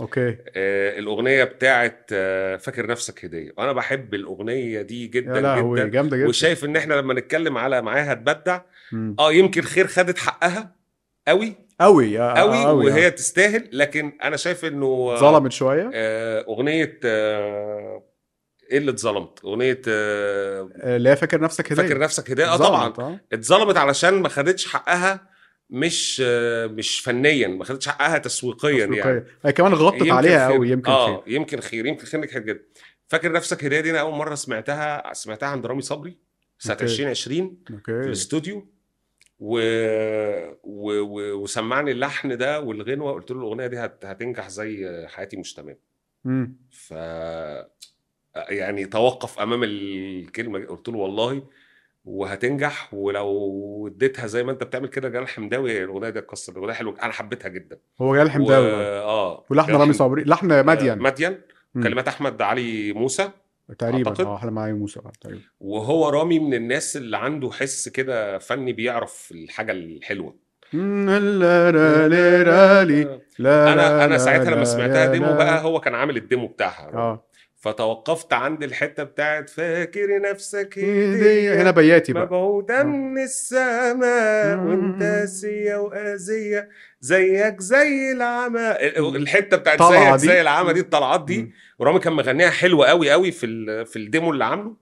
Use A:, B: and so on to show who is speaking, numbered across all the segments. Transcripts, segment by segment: A: اوكي
B: آه، الأغنية بتاعت آه، فاكر نفسك هدية أنا بحب الأغنية دي
A: يا
B: جدا
A: لهوي
B: جدا
A: جامده جدا
B: وشايف إن إحنا لما نتكلم على معاها هتبدع
A: مم.
B: أه يمكن خير خدت حقها قوي
A: قوي آه، آه،
B: قوي
A: قوي
B: وهي
A: آه.
B: تستاهل لكن أنا شايف إنه آه،
A: اتظلمت شويه
B: آه، أغنية آه، إيه اللي اتظلمت؟ أغنية آه،
A: آه، اللي هي فاكر نفسك هديه
B: فاكر نفسك هدية أه طبعا
A: اتظلمت، آه.
B: اتظلمت علشان ما خدتش حقها مش آه، مش فنيا ما خدتش حقها تسويقيا يعني
A: تسويقية هي كمان غطت عليها
B: خير.
A: قوي يمكن
B: اه
A: خير
B: يمكن خير يمكن خير نجحت جدا فاكر نفسك هديه دي انا اول مره سمعتها سمعتها عند رامي صبري سنه
A: أوكي.
B: 2020 في
A: اوكي
B: الاستوديو و... و... و... وسمعني اللحن ده والغنوه قلت له الاغنيه دي هت... هتنجح زي حياتي مش تمام
A: مم.
B: ف يعني توقف امام الكلمه دي. قلت له والله وهتنجح ولو اديتها زي ما انت بتعمل كده جلال حمداوي الاغنيه دي هتكسر الاغنيه حلوه انا حبيتها جدا
A: هو جاي
B: و... آه،
A: الحمداوي
B: اه
A: ولحن
B: جلال
A: رامي
B: حمد-
A: صبري لحن مدين
B: مدين
A: مم.
B: كلمات احمد علي موسى
A: تقريبا
B: أعتقد.
A: اه احلى معايا موسى آه، تقريبا
B: وهو رامي من الناس اللي عنده حس كده فني بيعرف الحاجه الحلوه
A: مم، لا لا لا لا لي. لا لا
B: انا انا
A: لا
B: ساعتها
A: لا
B: لما سمعتها
A: لا
B: ديمو
A: لا.
B: بقى هو كان عامل الديمو بتاعها رامي.
A: اه
B: فتوقفت عند الحته بتاعت فاكر نفسك
A: دي هنا
B: هديه
A: بياتي بقى
B: مبعودة
A: آه.
B: من السماء
A: مم.
B: وانت سيا وأذية زيك زي العمى ال- الحتة بتاعت
A: طالعة
B: زيك
A: دي.
B: زي العمى دي الطلعات دي
A: مم.
B: ورامي كان مغنيها حلوة قوي قوي في ال- في الديمو اللي عامله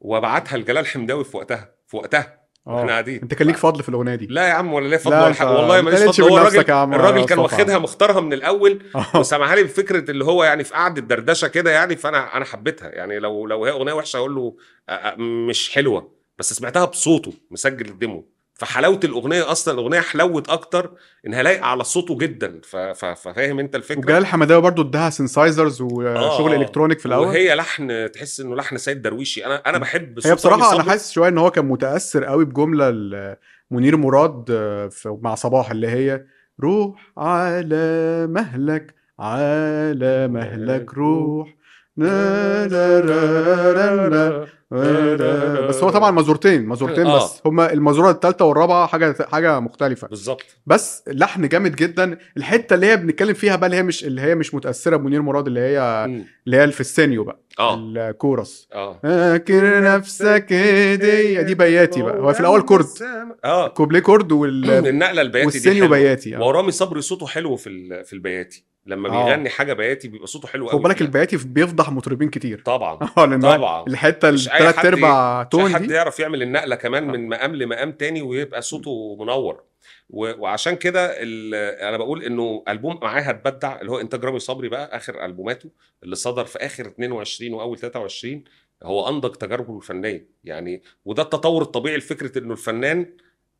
B: وبعتها لجلال حمداوي في وقتها في وقتها واحنا
A: اه
B: قاعدين
A: انت كان ليك فضل في الاغنيه دي
B: لا يا عم ولا ليه فضل
A: لا،
B: ولا
A: أنت
B: حاجه والله
A: ما
B: ماليش
A: تقللش
B: فضل
A: من
B: هو
A: نفسك
B: الراجل
A: يا عم
B: الراجل كان
A: مصطفى.
B: واخدها مختارها من الاول
A: آه.
B: وسامحها لي بفكره اللي هو يعني في قعده دردشه كده يعني فانا انا حبيتها يعني لو لو هي اغنيه وحشه اقول له أ- أ- مش حلوه بس سمعتها بصوته مسجل الديمو فحلاوه الاغنيه اصلا الاغنيه حلوت اكتر انها لايقه على صوته جدا ف- ف- ففاهم انت الفكره
A: وجلال حمداوي برضو اداها سينسايزرز وشغل
B: آه.
A: الكترونيك في الاول
B: وهي لحن تحس انه لحن سيد درويشي انا انا بحب صوت
A: هي
B: رامي
A: بصراحه انا
B: صبري.
A: حاسس شويه ان هو كان متاثر قوي بجمله ل- منير مراد آه، في- مع صباح اللي هي روح على مهلك على مهلك روح نا- نا- نا- نا- نا- نا- بس هو طبعا مزورتين مزورتين
B: آه.
A: بس هما المزوره الثالثه والرابعه حاجه حاجه مختلفه
B: بالظبط
A: بس لحن جامد جدا الحته اللي هي بنتكلم فيها بقى اللي هي مش اللي هي مش متاثره بمنير مراد اللي هي
B: مم.
A: اللي هي في السينيو بقى
B: اه
A: الكورس
B: اه
A: فاكر نفسك هديه دي بياتي بقى هو في الاول كرد
B: اه
A: كوبليه كرد وال...
B: النقله البياتي دي
A: والسينيو
B: حلوة.
A: بياتي آه.
B: ورامي صبري صوته حلو في ال- في البياتي لما
A: آه.
B: بيغني حاجه بياتي بيبقى صوته حلو قوي
A: خد بالك
B: فيها.
A: البياتي بيفضح مطربين كتير
B: طبعا
A: اه لان هو
B: طبعا
A: الحته
B: مش أي
A: الثلاث
B: حد
A: ارباع
B: عشان
A: تون
B: حد
A: دي
B: يعرف يعمل النقله كمان
A: آه.
B: من مقام لمقام تاني ويبقى صوته منور و- وعشان كده ال- انا بقول انه البوم معاها هتبدع اللي هو انتاج رامي صبري بقى اخر البوماته اللي صدر في اخر 22 واول 23 هو انضج تجاربه الفنيه يعني وده التطور الطبيعي لفكره انه الفنان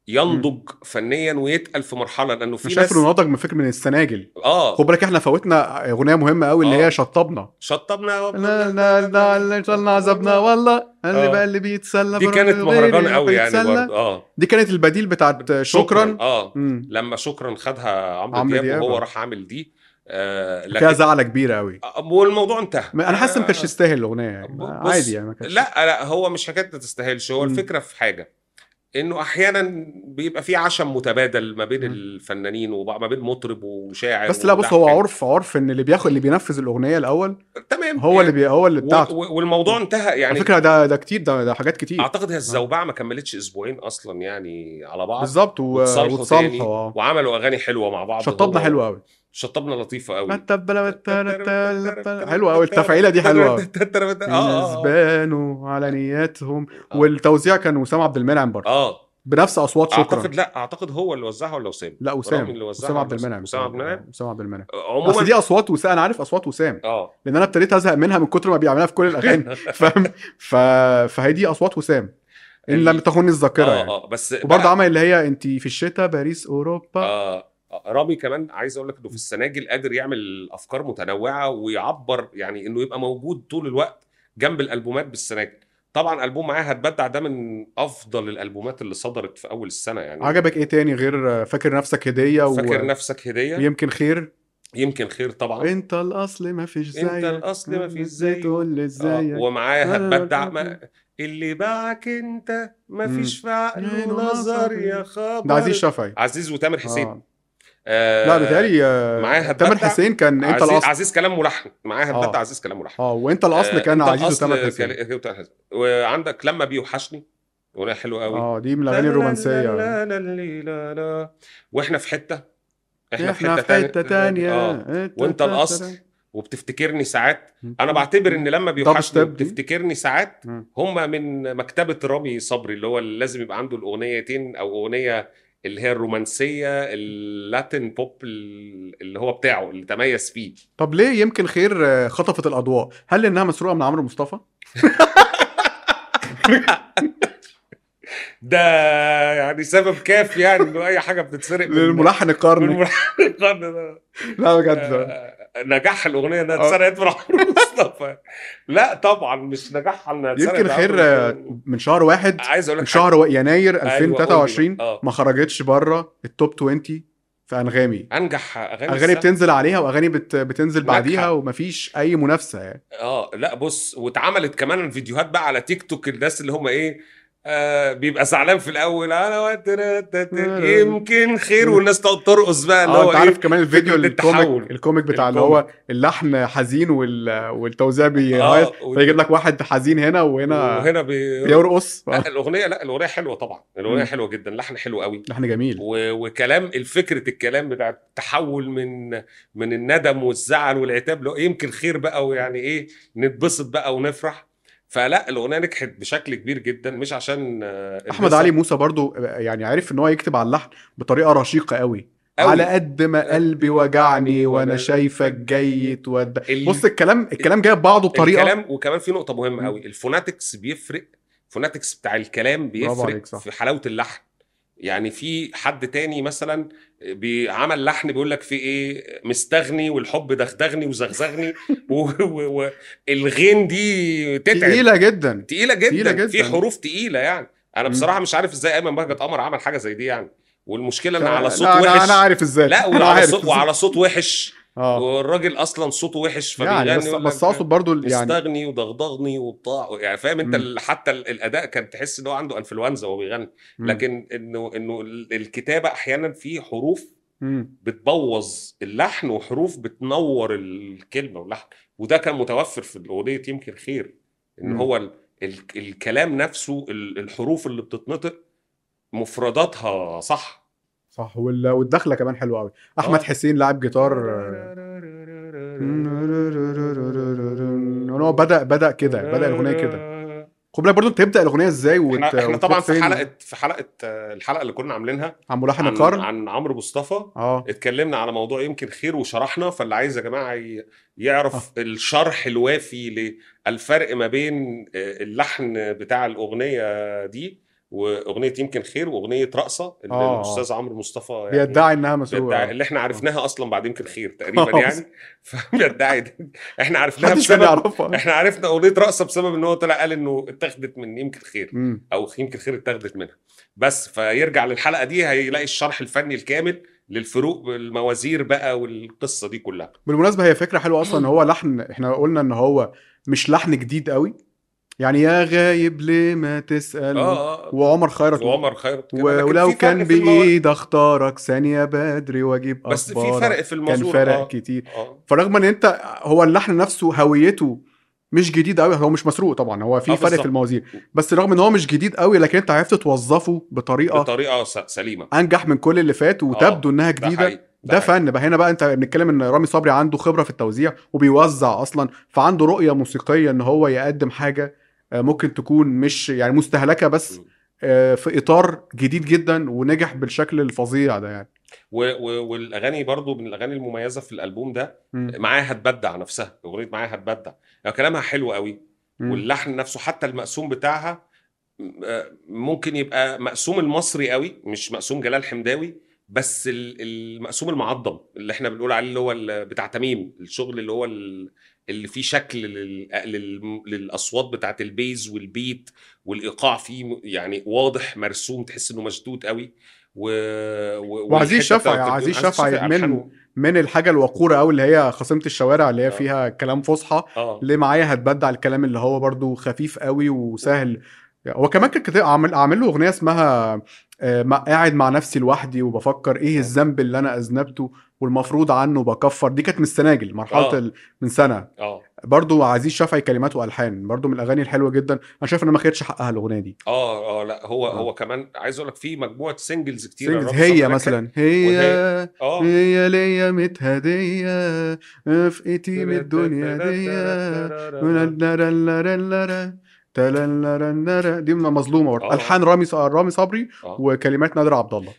B: ينضج فنيا ويتقل في مرحله لانه في
A: انا شايف
B: ناس
A: انه نضج من فكره من السناجل
B: اه
A: خد بالك احنا فوتنا اغنيه مهمه قوي اللي
B: آه.
A: هي شطبنا
B: شطبنا
A: لا لا لا اللي شلنا عذابنا والله اللي
B: آه.
A: بقى اللي بيتسلى
B: دي
A: برب
B: كانت
A: غيري
B: مهرجان قوي يعني
A: بيتسلى.
B: برضه اه
A: دي كانت البديل بتاعت شكرا
B: اه
A: مم.
B: لما شكرا خدها عمرو
A: عمرو
B: دياب,
A: دياب،
B: وهو
A: آه.
B: راح عامل دي آه
A: فيها
B: لكن
A: زعله كبيره قوي
B: آه، والموضوع انتهى
A: ما- انا حاسس ما كانش
B: آه،
A: يستاهل الاغنيه يعني
B: ب-
A: ما-
B: بص،
A: عادي يعني ما كانش
B: لا لا هو مش حكايه ما تستاهلش هو
A: مم.
B: الفكره في حاجه انه احيانا بيبقى في عشم متبادل ما بين
A: مم.
B: الفنانين وما بين مطرب وشاعر
A: بس لا بص هو
B: وملحن.
A: عرف عرف ان اللي بياخد اللي بينفذ الاغنيه الاول
B: تمام
A: هو اللي بي هو اللي
B: يعني و-
A: بتاعته
B: و- والموضوع انتهى
A: على آه.
B: يعني
A: فكره ده ده كتير ده ده حاجات كتير
B: اعتقد هي الزوبعه ما كملتش اسبوعين اصلا يعني على بعض
A: بالظبط و-
B: واتصالحوا تاني
A: واتصالحوا اه
B: وعملوا اغاني حلوه مع بعض
A: شطبنا
B: هو-
A: حلوه قوي
B: شطبنا لطيفه قوي
A: حلوه قوي التفعيله دي حلوه قوي
B: اه آه، آه.
A: بانوا على نياتهم والتوزيع كان وسام عبد المنعم برضه
B: اه
A: بنفس اصوات شكرا
B: اعتقد لا اعتقد هو اللي وزعها ولا وسام
A: لا
B: رامي
A: وسام
B: اللي وزعها
A: وسام عبد
B: ولا وسام؟
A: المنعم
B: وسام عبد المنعم؟
A: وسام عبد المنعم اصل
B: عموما
A: دي اصوات وسام انا عارف اصوات وسام
B: اه
A: لان انا ابتديت ازهق منها من كتر ما بيعملها في كل
B: آه،
A: الاغاني فاهم ف... فهي دي اصوات وسام ان
B: ال-
A: لم تخن الذاكره
B: اه
A: يعني
B: اه بس
A: وبرضه
B: بقى-
A: عمل اللي هي انت في الشتاء باريس اوروبا
B: آه آه، رامي كمان عايز اقول لك انه في السناجل قادر يعمل افكار متنوعه ويعبر يعني انه يبقى موجود طول الوقت جنب الالبومات بالسناجل طبعا البوم معاها هتبدع ده من افضل الالبومات اللي صدرت في اول السنه يعني
A: عجبك ايه تاني غير فاكر نفسك هديه و...
B: فاكر نفسك هديه
A: ويمكن خير
B: يمكن خير طبعا
A: انت الاصل ما فيش زيك
B: انت الأصل ما فيش
A: ازاي
B: زيك.
A: تقول لي
B: آه،
A: ازيك
B: ومعاها
A: لا، لا، لا،
B: هتبدع
A: لا،
B: ما اللي باعك انت ما
A: مم.
B: فيش في عقله
A: عينه
B: نظر
A: نظر
B: يا
A: ده عزيز
B: خبر
A: شفعي
B: عزيز وتامر حسين
A: آه.
B: آه
A: لا بتهيألي
B: معاه
A: تامر
B: هتبدع
A: حسين كان انت
B: عزيز,
A: الاصل
B: عزيز كلام ملحن معاه
A: آه.
B: هتبدع عزيز كلام ملحن
A: اه وانت الاصل
B: آه،
A: كان
B: أنت
A: عزيز
B: الأصل
A: وتامر حسين
B: كان- تامر حسين وعندك لما بيوحشني اغنيه حلوه قوي
A: اه دي من الاغاني الرومانسيه
B: لا لا لا لا لا. واحنا في حته احنا,
A: احنا في
B: تانية-
A: حته تانية
B: اه
A: انت-
B: وانت الاصل وبتفتكرني ساعات انا بعتبر ان لما
A: ستيب
B: بيوحشني
A: دي؟
B: وبتفتكرني ساعات
A: مم.
B: هم من مكتبه رامي صبري اللي هو اللي لازم يبقى عنده الاغنيتين او اغنيه اللي هي الرومانسيه اللاتين بوب اللي هو بتاعه اللي تميز فيه
A: طب ليه يمكن خير آه، خطفت الاضواء هل انها مسروقه من عمرو مصطفى
B: ده يعني سبب كافي يعني انه اي حاجه بتتسرق من-
A: للملحن
B: من
A: القرني
B: ملحن القرن ده
A: لا بجد
B: آه، نجاح الاغنيه انها
A: آه.
B: اتسرقت من عمرو مصطفى لا طبعا مش نجاحها انها اتسرقت
A: يمكن
B: من
A: خير
B: عمرو
A: آه،
B: مصطفى.
A: من شهر واحد
B: عايز اقول
A: من
B: لك حاجة.
A: شهر و- يناير
B: أيوة، قول لي بقى.
A: 2023
B: اه
A: ما خرجتش بره التوب 20 في انغامي
B: انجح اغاني
A: اغاني
B: السنة.
A: بتنزل عليها واغاني بت... بتنزل
B: ناجحة.
A: بعديها ومفيش اي منافسه يعني
B: اه لا بص واتعملت كمان فيديوهات بقى على تيك توك الناس اللي هم ايه آه بيبقى زعلان في الاول انا وقت- يمكن خير والناس تقعد ترقص بقى اللي
A: اه
B: هو
A: انت
B: إيه؟
A: عارف كمان الفيديو
B: فكرة التحول.
A: الكوميك الكوميك بتاع اللي هو اللحن حزين وال... والتوزيع بيهايص
B: اه و-
A: فيجيب لك واحد حزين إيه، هنا وهنا
B: وهنا بي...
A: بيرقص آه،
B: لا الاغنيه لا الاغنيه حلوه طبعا الاغنيه
A: مم.
B: حلوه جدا لحن حلو قوي
A: لحن جميل
B: و... وكلام الفكرة الكلام بتاع التحول من من الندم والزعل والعتاب لو يمكن خير بقى ويعني ايه نتبسط بقى ونفرح فلا الاغنيه نجحت بشكل كبير جدا مش عشان آه،
A: احمد
B: البسط
A: علي موسى برضو يعني عارف ان هو يكتب على اللحن بطريقه رشيقه قوي
B: أوي.
A: على قد ما قلبي وجعني وانا شايفك جاي تودع
B: ال-
A: بص الكلام الكلام جاي ببعضه بطريقه
B: إيه. الكلام وكمان في نقطه مهمه
A: مم.
B: قوي الفوناتكس بيفرق الفوناتكس بتاع الكلام بيفرق
A: عليك، صح.
B: في حلاوه اللحن يعني في حد تاني مثلا بي- عمل لحن بيقول لك في ايه مستغني والحب دغدغني وزغزغني والغين دي تتعب
A: تقيله جدا
B: تقيله جدا,
A: تقيلة جداً.
B: في حروف تقيله يعني انا
A: مم.
B: بصراحه مش عارف ازاي ايمن بهجت قمر عمل حاجه زي دي يعني والمشكله ان
A: لا،
B: على صوت
A: لا،
B: وحش
A: انا انا عارف ازاي
B: لا
A: انا
B: وعلى
A: عارف
B: صوت,
A: إزاي.
B: وعلى صوت وحش
A: اه
B: والراجل اصلا صوته وحش فبيغني
A: يعني بس
B: يقول
A: بس
B: لك-
A: اقصد برضو يعني
B: استغني ودغدغني وبتاع يعني فاهم انت
A: مم.
B: ال- حتى ال- الاداء كان تحس ان هو عنده انفلونزا وهو بيغني
A: مم.
B: لكن انه انه ال- الكتابه احيانا في حروف
A: مم.
B: بتبوظ اللحن وحروف بتنور الكلمه واللحن وده كان متوفر في الاغنيه يمكن خير ان
A: مم.
B: هو ال ال الكلام نفسه ال- الحروف اللي بتتنطق مفرداتها صح
A: صح وال- والدخله كمان حلوه قوي احمد
B: آه.
A: حسين لاعب جيتار آه، ان هو بدا بدا كده بدا الاغنيه كده خد بالك برضه تبدا الاغنيه ازاي وت...
B: احنا احنا
A: وتروح
B: طبعا في
A: فين
B: حلقه في حلقه آه، الحلقه اللي كنا عاملينها
A: عن ملحن
B: عن
A: القرن
B: عن عمرو مصطفى
A: اه
B: اتكلمنا على موضوع يمكن خير وشرحنا فاللي عايز يا جماعه ي-
A: آه.
B: يعرف الشرح الوافي للفرق ما بين آه، اللحن بتاع الاغنيه دي واغنيه يمكن خير واغنيه رقصه اللي
A: آه.
B: الاستاذ عمرو مصطفى يعني
A: بيدعي انها مسروقه
B: بيدعي
A: آه.
B: اللي احنا عرفناها اصلا بعد يمكن خير تقريبا
A: آه.
B: يعني فبيدعي ده. احنا عرفناها
A: محدش كان
B: بسبب
A: يعرفها
B: احنا عرفنا اغنيه رقصه بسبب ان هو طلع قال انه اتاخدت من يمكن خير
A: مم.
B: او يمكن خير اتاخدت منها بس فيرجع للحلقه دي هيلاقي الشرح الفني الكامل للفروق بالموازير بقى والقصه دي كلها
A: بالمناسبه هي فكره حلوه اصلا ان هو لحن احنا قلنا ان هو مش لحن جديد قوي يعني يا غايب ليه ما تسال
B: اه اه
A: وعمر خيرت
B: وعمر خيرت كده.
A: و-
B: لكن
A: ولو
B: في فرق
A: كان
B: في المواهب.
A: بايد اختارك ثانيه بدري واجيب
B: بس في
A: أخبارك.
B: فرق في
A: كان
B: المزور
A: فرق
B: آه.
A: كتير
B: اه
A: فرغم ان انت هو اللحن نفسه هويته مش جديد قوي هو مش مسروق طبعا هو
B: آه،
A: في فرق
B: بالظبط.
A: في الموازير بس رغم ان هو مش جديد قوي لكن انت عرفت توظفه بطريقه
B: بطريقه س- سليمه
A: انجح من كل اللي فات وتبدو انها
B: آه، ده
A: جديده
B: حقيقي.
A: ده
B: حقيقي.
A: فن بقى هنا بقى انت بنتكلم ان رامي صبري عنده خبره في التوزيع وبيوزع اصلا فعنده رؤيه موسيقيه ان هو يقدم حاجه آه، ممكن تكون مش يعني مستهلكه بس
B: م.
A: آه، في اطار جديد جدا ونجح بالشكل الفظيع ده يعني
B: و... و... والاغاني برضو من الاغاني المميزه في الالبوم ده
A: مم.
B: معاها هتبدع نفسها اغنيه معاها هتبدع يعني كلامها حلو قوي
A: مم.
B: واللحن نفسه حتى المقسوم بتاعها م- آه، ممكن يبقى مقسوم المصري قوي مش مقسوم جلال حمداوي بس ال- المقسوم المعظم اللي احنا بنقول عليه اللي هو ال- بتاع تميم الشغل اللي هو ال- اللي فيه شكل لل- لل- للاصوات بتاعت البيز والبيت والايقاع فيه م- يعني واضح مرسوم تحس انه مشدود قوي و... و...
A: وعزيز
B: والحتة
A: شفعي-
B: بتاعت
A: عزيز
B: الترتيب-
A: شفعي
B: شفعي ألحانه-
A: من الحاجه الوقوره قوي اللي هي خصيمه الشوارع اللي هي
B: آه.
A: فيها كلام فصحى
B: اه
A: ليه معايا هتبدع الكلام اللي هو برضو خفيف قوي وسهل هو كمان كان كاتب- عامل عامل له اغنيه اسمها آه، ما- قاعد مع نفسي لوحدي وبفكر
B: آه.
A: ايه الذنب اللي انا اذنبته والمفروض عنه بكفر دي كانت من السناجل مرحله
B: آه.
A: ال- من سنه
B: اه
A: برضو عزيز شافعي كلمات والحان برضو من الاغاني الحلوه جدا انا شايف ان ما خدتش حقها الاغنيه دي
B: اه اه لا هو
A: آه.
B: هو كمان عايز اقول لك في مجموعه سينجلز كتير
A: سينجلز
B: الراجل صابر
A: هي
B: كان-
A: مثلا هي
B: وهي-
A: آه.
B: اه
A: هي ليا متهديه رفقتي من الدنيا دي ولالالالالالالال، تلالالالالال. دي من مظلومه برضه
B: آه.
A: الحان رامي ص- رامي صبري
B: آه.
A: وكلمات نادر عبد الله